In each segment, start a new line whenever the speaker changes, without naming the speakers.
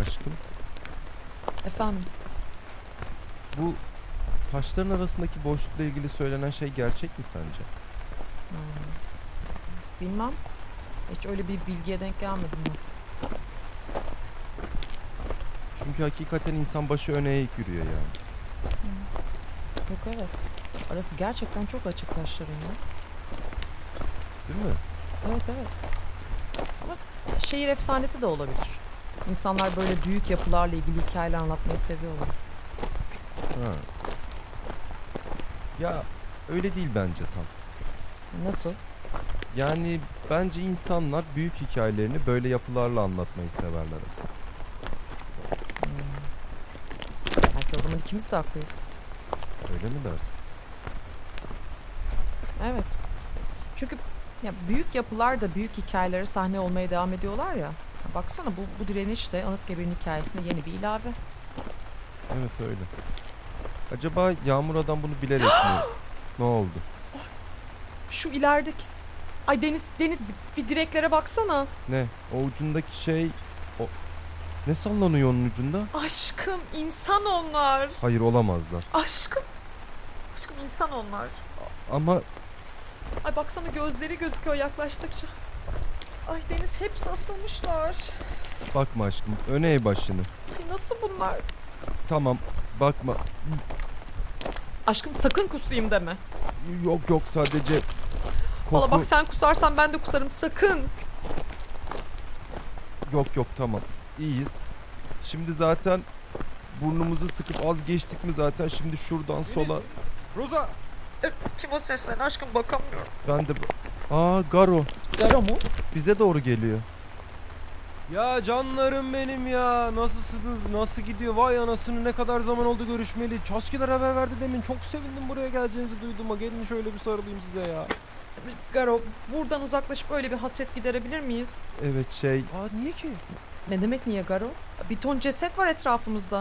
aşkım.
Efendim.
Bu taşların arasındaki boşlukla ilgili söylenen şey gerçek mi sence?
Hmm. Bilmem. Hiç öyle bir bilgiye denk gelmedim ben.
Çünkü hakikaten insan başı öne eğik yürüyor yani.
Yok evet. Arası gerçekten çok açık taşların ya.
Değil mi?
Evet evet. Ama şehir efsanesi de olabilir. İnsanlar böyle büyük yapılarla ilgili hikayeler anlatmayı seviyorlar.
Ha. Ya öyle değil bence tam.
Nasıl?
Yani bence insanlar büyük hikayelerini böyle yapılarla anlatmayı severler aslında.
Hmm. Belki o zaman ikimiz de haklıyız.
Öyle mi dersin?
Evet. Çünkü ya büyük yapılar da büyük hikayelere sahne olmaya devam ediyorlar ya. Ya Baksana bu, bu direniş de Anıtkabir'in hikayesine yeni bir ilave.
Evet öyle. Acaba Yağmur adam bunu bilerek mi? Ne oldu?
Şu ilerideki... Ay Deniz, Deniz bir- bir direklere baksana.
Ne? O ucundaki şey... O... Ne sallanıyor onun ucunda?
Aşkım insan onlar.
Hayır olamazlar.
Aşkım. Aşkım insan onlar.
Ama
Ay baksana gözleri gözüküyor yaklaştıkça. Ay Deniz hepsi asılmışlar.
bakma aşkım. Öne eğ başını.
Ay nasıl bunlar?
Tamam bakma.
Aşkım sakın kusayım deme.
Yok yok sadece...
Valla
Koku...
bak sen kusarsan ben de kusarım sakın.
Yok yok tamam. İyiyiz. Şimdi zaten burnumuzu sıkıp az geçtik mi zaten şimdi şuradan sola... Roza!
Kim o seslen aşkım bakamıyorum.
Ben de... Aa Garo
Garo mu?
bize doğru geliyor.
Ya canlarım benim ya. Nasılsınız? Nasıl gidiyor? Vay anasını ne kadar zaman oldu görüşmeli. Çaskiler haber verdi demin. Çok sevindim buraya geleceğinizi duyduğuma. Gelin şöyle bir sarılayım size ya.
Garo buradan uzaklaşıp öyle bir hasret giderebilir miyiz?
Evet şey...
Aa niye ki?
Ne demek niye Garo? Bir ton ceset var etrafımızda.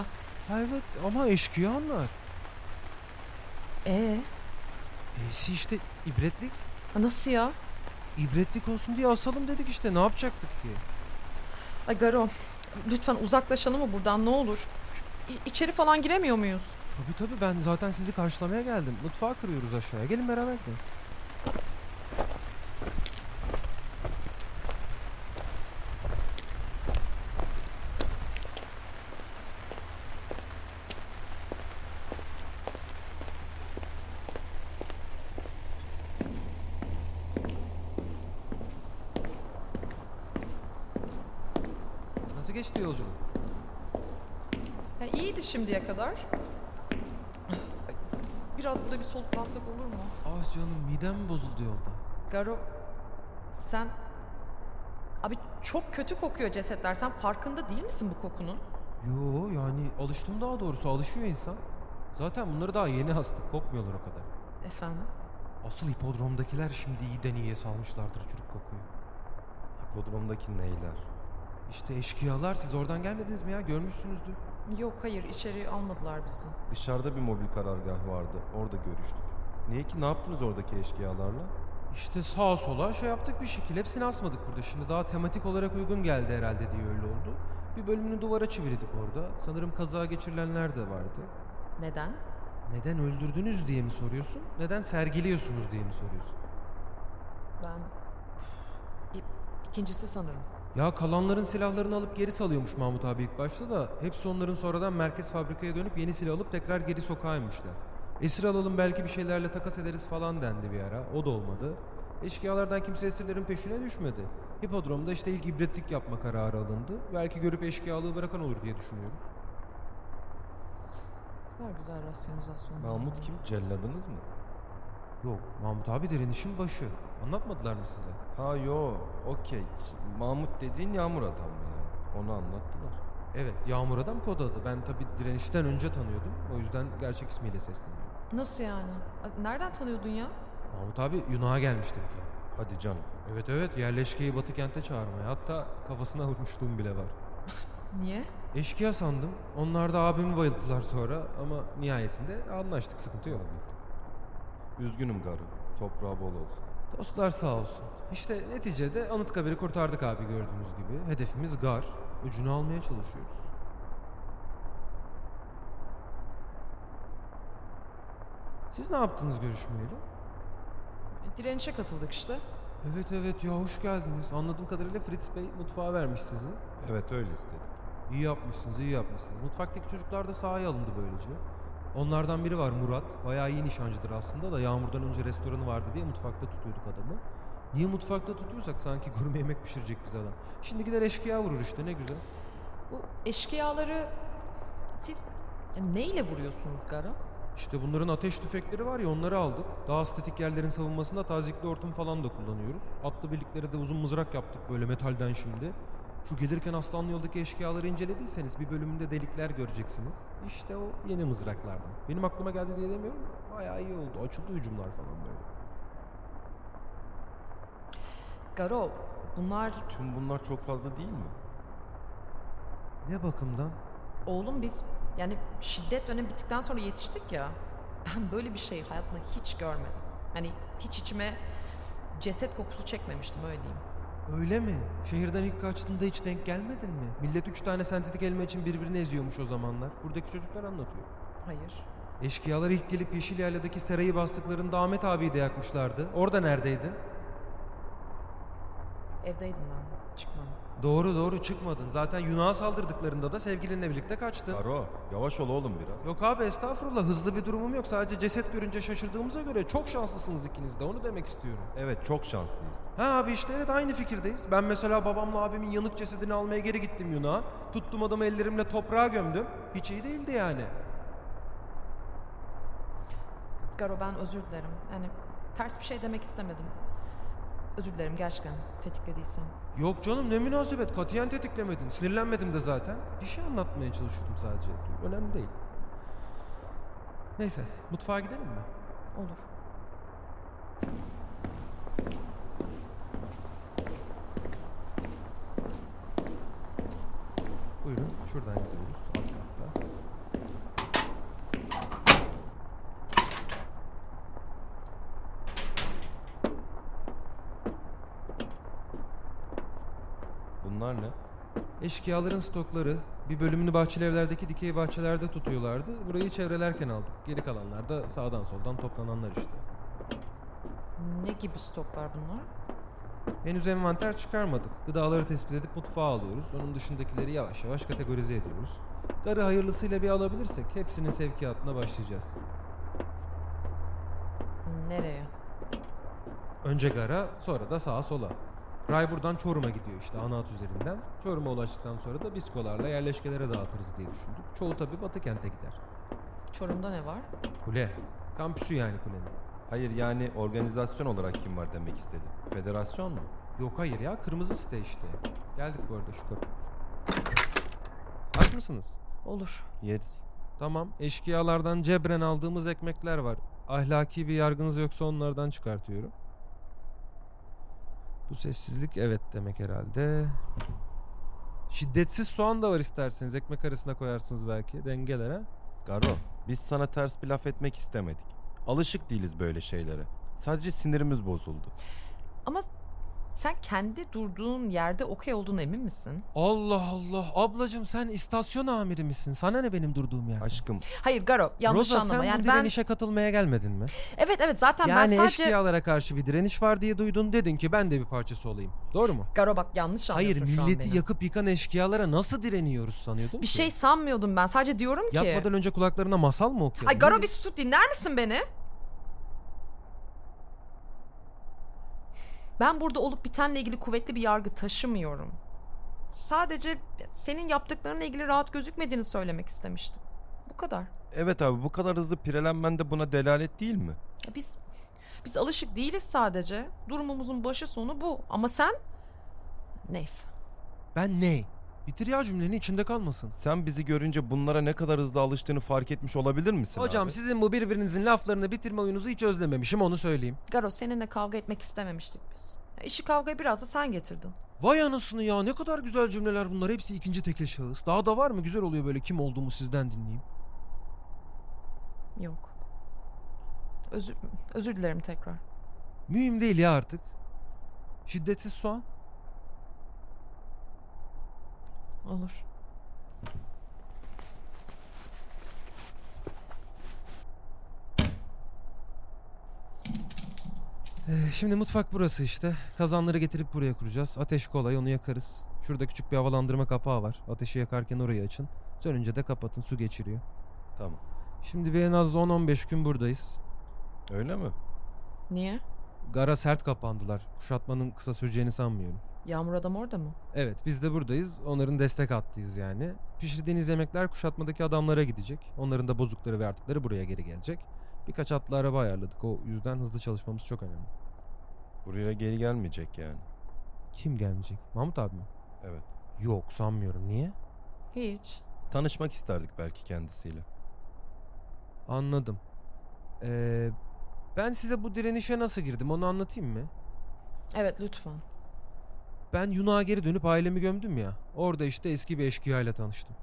Ha, evet ama eşkıya onlar.
Ee,
Esi işte ibretlik.
nasıl ya?
İbretlik olsun diye asalım dedik işte. Ne yapacaktık ki?
Ay Garo lütfen uzaklaşalım mı buradan ne olur? Şu- i- içeri falan giremiyor muyuz?
Tabii tabii ben zaten sizi karşılamaya geldim. Mutfağa kırıyoruz aşağıya. Gelin beraber gidelim. Nasıl geçti yolculuk?
Ya iyiydi şimdiye kadar. Ay, Biraz burada bir soluklansak olur mu?
Ah canım midem bozuldu yolda.
Garo sen... Abi çok kötü kokuyor cesetler. Sen farkında değil misin bu kokunun?
Yo yani alıştım daha doğrusu alışıyor insan. Zaten bunları daha yeni astık kokmuyorlar o kadar.
Efendim?
Asıl hipodromdakiler şimdi iyiden iyiye salmışlardır çürük kokuyu.
Hipodromdaki neyler?
İşte eşkıyalar siz oradan gelmediniz mi ya görmüşsünüzdür.
Yok hayır içeri almadılar bizi.
Dışarıda bir mobil karargah vardı. Orada görüştük. Niye ki ne yaptınız oradaki eşkıyalarla?
İşte sağa sola şey yaptık bir şekil hepsini asmadık burada şimdi daha tematik olarak uygun geldi herhalde diye öyle oldu. Bir bölümünü duvara çevirdik orada. Sanırım kaza geçirilenler de vardı.
Neden?
Neden öldürdünüz diye mi soruyorsun? Neden sergiliyorsunuz diye mi soruyorsun?
Ben... İ- ikincisi sanırım.
Ya kalanların silahlarını alıp geri salıyormuş Mahmut abi ilk başta da hepsi onların sonradan merkez fabrikaya dönüp yeni silah alıp tekrar geri sokağa inmişler. Esir alalım belki bir şeylerle takas ederiz falan dendi bir ara. O da olmadı. Eşkıyalardan kimse esirlerin peşine düşmedi. Hipodromda işte ilk ibretlik yapma kararı alındı. Belki görüp eşkıyalığı bırakan olur diye düşünüyoruz.
Ne kadar güzel rasyonizasyon.
Mahmut kim? Celladınız mı?
Yok Mahmut abi direnişin başı. Anlatmadılar mı size?
Ha yo, okey. Ç- Mahmut dediğin yağmur adam mı yani? Onu anlattılar.
Evet Yağmur Adam kod adı. Ben tabi direnişten önce tanıyordum. O yüzden gerçek ismiyle sesleniyorum.
Nasıl yani? A- Nereden tanıyordun ya?
Mahmut abi Yunan'a gelmişti bir kere.
Hadi canım.
Evet evet yerleşkeyi Batı kente çağırmaya hatta kafasına vurmuşluğum bile var.
Niye?
Eşkıya sandım. Onlar da abimi bayılttılar sonra ama nihayetinde anlaştık sıkıntı yok.
Abi. Üzgünüm Garu. Toprağı bol olsun.
Dostlar sağ olsun. İşte neticede Anıtkabir'i kurtardık abi gördüğünüz gibi. Hedefimiz gar. Ucunu almaya çalışıyoruz. Siz ne yaptınız görüşmeyle?
E, Direnişe katıldık işte.
Evet evet ya hoş geldiniz. Anladığım kadarıyla Fritz Bey mutfağa vermiş sizi.
Evet öyle istedik.
İyi yapmışsınız, iyi yapmışsınız. Mutfaktaki çocuklar da sahaya alındı böylece. Onlardan biri var Murat. Bayağı iyi nişancıdır aslında da yağmurdan önce restoranı vardı diye mutfakta tutuyorduk adamı. Niye mutfakta tutuyorsak sanki gurme yemek pişirecek bize adam. Şimdi gider eşkıya vurur işte ne güzel.
Bu eşkıyaları siz neyle vuruyorsunuz Garo?
İşte bunların ateş tüfekleri var ya onları aldık. Daha estetik yerlerin savunmasında tazikli hortum falan da kullanıyoruz. Atlı birliklere de uzun mızrak yaptık böyle metalden şimdi. Şu gelirken Aslanlı yoldaki eşkıyaları incelediyseniz bir bölümünde delikler göreceksiniz. İşte o yeni mızraklardan. Benim aklıma geldi diye demiyorum. Bayağı iyi oldu. Açıldı hücumlar falan böyle.
Garo bunlar
Tüm bunlar çok fazla değil mi?
Ne bakımdan?
oğlum biz yani şiddet dönemi bittikten sonra yetiştik ya. Ben böyle bir şeyi hayatımda hiç görmedim. Hani hiç içime ceset kokusu çekmemiştim öyle diyeyim.
Öyle mi? Şehirden ilk kaçtığında hiç denk gelmedin mi? Millet üç tane sentetik elma için birbirini eziyormuş o zamanlar. Buradaki çocuklar anlatıyor.
Hayır.
Eşkıyalar ilk gelip Yeşil Yayladaki serayı bastıklarında Ahmet abiyi de yakmışlardı. Orada neredeydin?
Evdeydim ben. Çıkmam.
Doğru doğru çıkmadın. Zaten Yunan'a saldırdıklarında da sevgilinle birlikte kaçtın.
Karo yavaş ol oğlum biraz.
Yok abi estağfurullah hızlı bir durumum yok. Sadece ceset görünce şaşırdığımıza göre çok şanslısınız ikiniz de onu demek istiyorum.
Evet çok şanslıyız.
Ha abi işte evet aynı fikirdeyiz. Ben mesela babamla abimin yanık cesedini almaya geri gittim Yunan'a. Tuttum adamı ellerimle toprağa gömdüm. Hiç iyi değildi yani.
Garo ben özür dilerim. Yani ters bir şey demek istemedim. Özür dilerim gerçekten tetiklediysem.
Yok canım ne münasebet katiyen tetiklemedin. Sinirlenmedim de zaten. Bir şey anlatmaya çalışıyordum sadece. Önemli değil. Neyse mutfağa gidelim mi?
Olur.
Buyurun şuradan gidiyoruz alt katta.
Bunlar ne?
Eşkıyaların stokları bir bölümünü bahçeli evlerdeki dikey bahçelerde tutuyorlardı. Burayı çevrelerken aldık. Geri kalanlar da sağdan soldan toplananlar işte.
Ne gibi stoklar bunlar?
Henüz envanter çıkarmadık. Gıdaları tespit edip mutfağa alıyoruz. Onun dışındakileri yavaş yavaş kategorize ediyoruz. Garı hayırlısıyla bir alabilirsek hepsinin sevkiyatına başlayacağız.
Nereye?
Önce gara, sonra da sağa sola. Ray buradan Çorum'a gidiyor işte ana hat üzerinden. Çorum'a ulaştıktan sonra da biskolarla yerleşkelere dağıtırız diye düşündük. Çoğu tabii Batı kente gider.
Çorum'da ne var?
Kule. Kampüsü yani kulenin.
Hayır yani organizasyon olarak kim var demek istedi. Federasyon mu?
Yok hayır ya kırmızı site işte. Geldik bu arada şu kapı. Aç mısınız?
Olur.
Yeriz.
Tamam eşkıyalardan cebren aldığımız ekmekler var. Ahlaki bir yargınız yoksa onlardan çıkartıyorum. Bu sessizlik evet demek herhalde. Şiddetsiz soğan da var isterseniz. Ekmek arasına koyarsınız belki. Dengeler ha.
Garo biz sana ters bir laf etmek istemedik. Alışık değiliz böyle şeylere. Sadece sinirimiz bozuldu.
Ama sen kendi durduğun yerde okey olduğuna emin misin?
Allah Allah. Ablacım sen istasyon amiri misin? Sana ne benim durduğum yer?
Aşkım
Hayır Garo yanlış
Roza sen
anlama. yani
bu
ben
direnişe katılmaya gelmedin mi?
Evet evet zaten
yani
ben sadece
eşkıyalara karşı bir direniş var diye duydun. Dedin ki ben de bir parçası olayım. Doğru mu?
Garo bak yanlış
Hayır
anlıyorsun şu an beni.
milleti yakıp yıkan eşkıyalara nasıl direniyoruz sanıyordun
Bir
ki?
şey sanmıyordum ben. Sadece diyorum ki.
Yapmadan önce kulaklarına masal mı okuyalım?
Ay Garo
Ne-
bir sus dinler misin beni? Ben burada olup bitenle ilgili kuvvetli bir yargı taşımıyorum. Sadece senin yaptıklarınla ilgili rahat gözükmediğini söylemek istemiştim. Bu kadar.
evet abi bu kadar hızlı pirelenmen de buna delalet değil mi?
Ya biz biz alışık değiliz sadece. Durumumuzun başı sonu bu. Ama sen neyse.
Ben ne? Bitir ya cümleni içinde kalmasın.
Sen bizi görünce bunlara ne kadar hızlı alıştığını fark etmiş olabilir misin
Hocam
abi?
sizin bu birbirinizin laflarını bitirme oyunuzu hiç özlememişim onu söyleyeyim.
Garo seninle kavga etmek istememiştik biz. Ya İşi kavgaya biraz da sen getirdin.
Vay anasını ya ne kadar güzel cümleler bunlar hepsi ikinci tekil şahıs. Daha da var mı güzel oluyor böyle kim olduğumu sizden dinleyeyim.
Yok. Özür, özür dilerim tekrar.
Mühim değil ya artık. Şiddetsiz soğan.
Olur.
Ee, şimdi mutfak burası işte. Kazanları getirip buraya kuracağız. Ateş kolay onu yakarız. Şurada küçük bir havalandırma kapağı var. Ateşi yakarken orayı açın. Sönünce de kapatın su geçiriyor.
Tamam.
Şimdi bir en az 10-15 gün buradayız.
Öyle mi?
Niye?
Gara sert kapandılar. Kuşatmanın kısa süreceğini sanmıyorum.
Yağmur adam orada mı?
Evet biz de buradayız. Onların destek hattıyız yani. Pişirdiğiniz yemekler kuşatmadaki adamlara gidecek. Onların da bozukları ve artıkları buraya geri gelecek. Birkaç atlı araba ayarladık. O yüzden hızlı çalışmamız çok önemli.
Buraya geri gelmeyecek yani.
Kim gelmeyecek? Mahmut abi mi?
Evet.
Yok sanmıyorum. Niye?
Hiç.
Tanışmak isterdik belki kendisiyle.
Anladım. Ee, ben size bu direnişe nasıl girdim onu anlatayım mı?
Evet lütfen.
Ben Yunan'a geri dönüp ailemi gömdüm ya. Orada işte eski bir eşkıyayla tanıştım.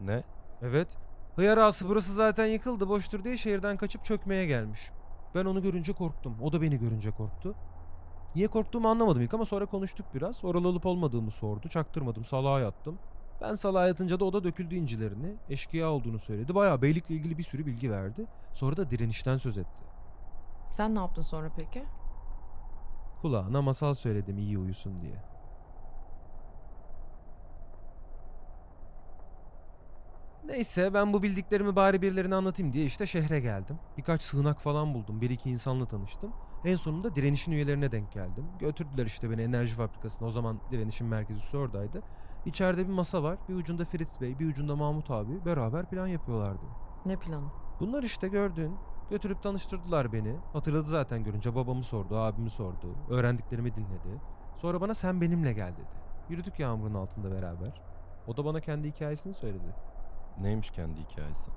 Ne?
Evet. Hıyar ağası burası zaten yıkıldı boştur diye şehirden kaçıp çökmeye gelmiş. Ben onu görünce korktum. O da beni görünce korktu. Niye korktuğumu anlamadım ilk ama sonra konuştuk biraz. Oralı olup olmadığımı sordu. Çaktırmadım. Salağa yattım. Ben salağa yatınca da o da döküldü incilerini. Eşkıya olduğunu söyledi. Bayağı beylikle ilgili bir sürü bilgi verdi. Sonra da direnişten söz etti.
Sen ne yaptın sonra peki?
Kulağına masal söyledim iyi uyusun diye. Neyse ben bu bildiklerimi bari birilerine anlatayım diye işte şehre geldim. Birkaç sığınak falan buldum. Bir iki insanla tanıştım. En sonunda direnişin üyelerine denk geldim. Götürdüler işte beni enerji fabrikasına. O zaman direnişin merkezi oradaydı. İçeride bir masa var. Bir ucunda Fritz Bey, bir ucunda Mahmut abi. Beraber plan yapıyorlardı.
Ne planı?
Bunlar işte gördün. Götürüp tanıştırdılar beni. Hatırladı zaten görünce babamı sordu, abimi sordu. Öğrendiklerimi dinledi. Sonra bana sen benimle gel dedi. Yürüdük yağmurun altında beraber. O da bana kendi hikayesini söyledi.
Neymiş kendi hikayesi?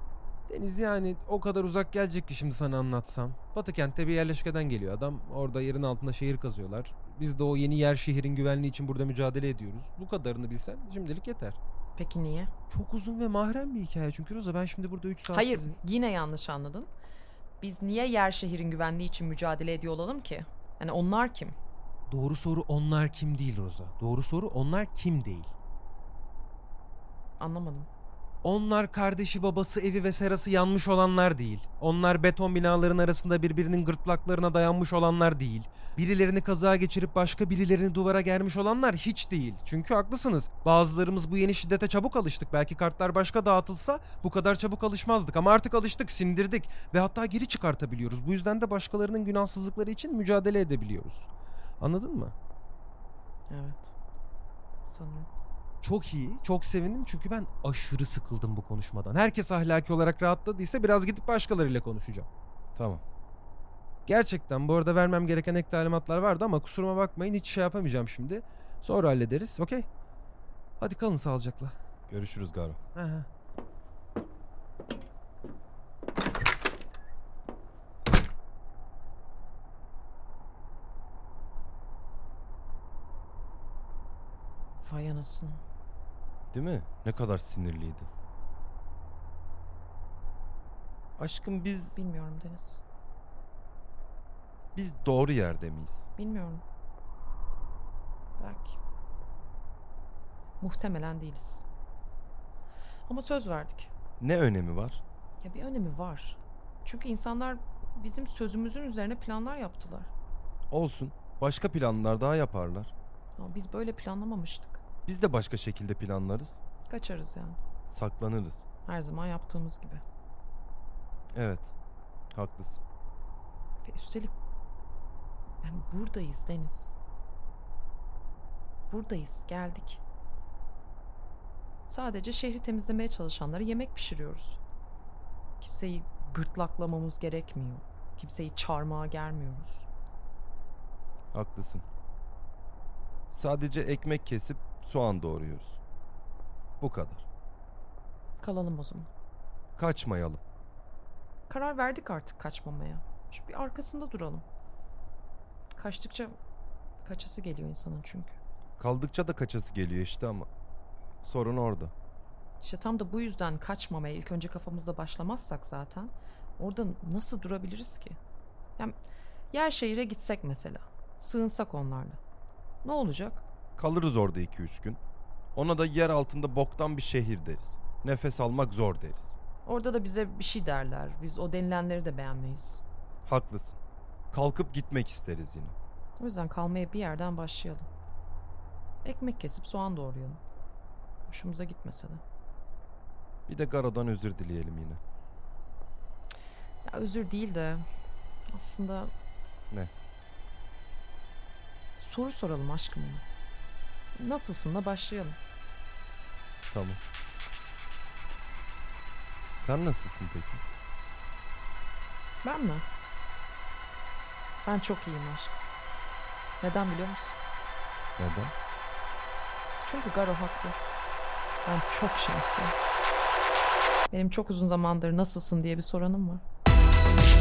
Deniz yani o kadar uzak gelecek ki şimdi sana anlatsam. Batı kentte bir yerleşkeden geliyor adam. Orada yerin altında şehir kazıyorlar. Biz de o yeni yer şehrin güvenliği için burada mücadele ediyoruz. Bu kadarını bilsen şimdilik yeter.
Peki niye?
Çok uzun ve mahrem bir hikaye çünkü Roza ben şimdi burada 3 saat
Hayır
sizi-
yine yanlış anladın. Biz niye yer şehrin güvenliği için mücadele ediyor olalım ki? Hani onlar kim?
Doğru soru onlar kim değil Roza. Doğru soru onlar kim değil.
Anlamadım.
Onlar kardeşi babası evi ve serası yanmış olanlar değil. Onlar beton binaların arasında birbirinin gırtlaklarına dayanmış olanlar değil. Birilerini kaza geçirip başka birilerini duvara germiş olanlar hiç değil. Çünkü haklısınız. Bazılarımız bu yeni şiddete çabuk alıştık. Belki kartlar başka dağıtılsa bu kadar çabuk alışmazdık. Ama artık alıştık, sindirdik ve hatta geri çıkartabiliyoruz. Bu yüzden de başkalarının günahsızlıkları için mücadele edebiliyoruz. Anladın mı?
Evet. Sanırım.
Çok iyi, çok sevindim çünkü ben aşırı sıkıldım bu konuşmadan. Herkes ahlaki olarak rahatladıysa biraz gidip başkalarıyla konuşacağım.
Tamam.
Gerçekten bu arada vermem gereken ek talimatlar vardı ama kusuruma bakmayın hiç şey yapamayacağım şimdi. Sonra hallederiz, okey? Hadi kalın sağlıcakla.
Görüşürüz Garo.
He he.
Vay anasını.
Değil mi? Ne kadar sinirliydi. Aşkım biz
Bilmiyorum Deniz.
biz doğru yerde miyiz?
Bilmiyorum. Belki. Muhtemelen değiliz. Ama söz verdik.
Ne önemi var?
Ya bir önemi var. Çünkü insanlar bizim sözümüzün üzerine planlar yaptılar.
Olsun. Başka planlar daha yaparlar.
Ama biz böyle planlamamıştık.
Biz de başka şekilde planlarız.
Kaçarız yani.
Saklanırız.
Her zaman yaptığımız gibi.
Evet. Haklısın.
Ve üstelik yani buradayız Deniz. Buradayız, geldik. Sadece şehri temizlemeye çalışanlara yemek pişiriyoruz. Kimseyi gırtlaklamamız gerekmiyor. Kimseyi çarmıha germiyoruz.
Haklısın. Sadece ekmek kesip soğan doğruyoruz. Bu kadar.
Kalalım o zaman.
Kaçmayalım.
Karar verdik artık kaçmamaya. Şu bir arkasında duralım. Kaçtıkça kaçası geliyor insanın çünkü.
Kaldıkça da kaçası geliyor işte ama sorun orada.
İşte tam da bu yüzden kaçmamaya ilk önce kafamızda başlamazsak zaten orada nasıl durabiliriz ki? Yani yer şehire gitsek mesela. Sığınsak onlarla. Ne olacak?
Kalırız orada 2-3 gün. Ona da yer altında boktan bir şehir deriz. Nefes almak zor deriz.
Orada da bize bir şey derler. Biz o denilenleri de beğenmeyiz.
Haklısın. kalkıp gitmek isteriz yine.
O yüzden kalmaya bir yerden başlayalım. Ekmek kesip soğan doğrayalım. Hoşumuza gitmese de.
Bir de Garo'dan özür dileyelim yine.
Ya özür değil de aslında...
Ne?
Soru soralım aşkım ona. Nasılsınla başlayalım.
Tamam. Sen nasılsın peki?
Ben mi? Ben çok iyiyim aşkım. Neden biliyor musun?
Neden?
Çünkü Garo haklı. Ben çok şanslıyım. Benim çok uzun zamandır nasılsın diye bir soranım var.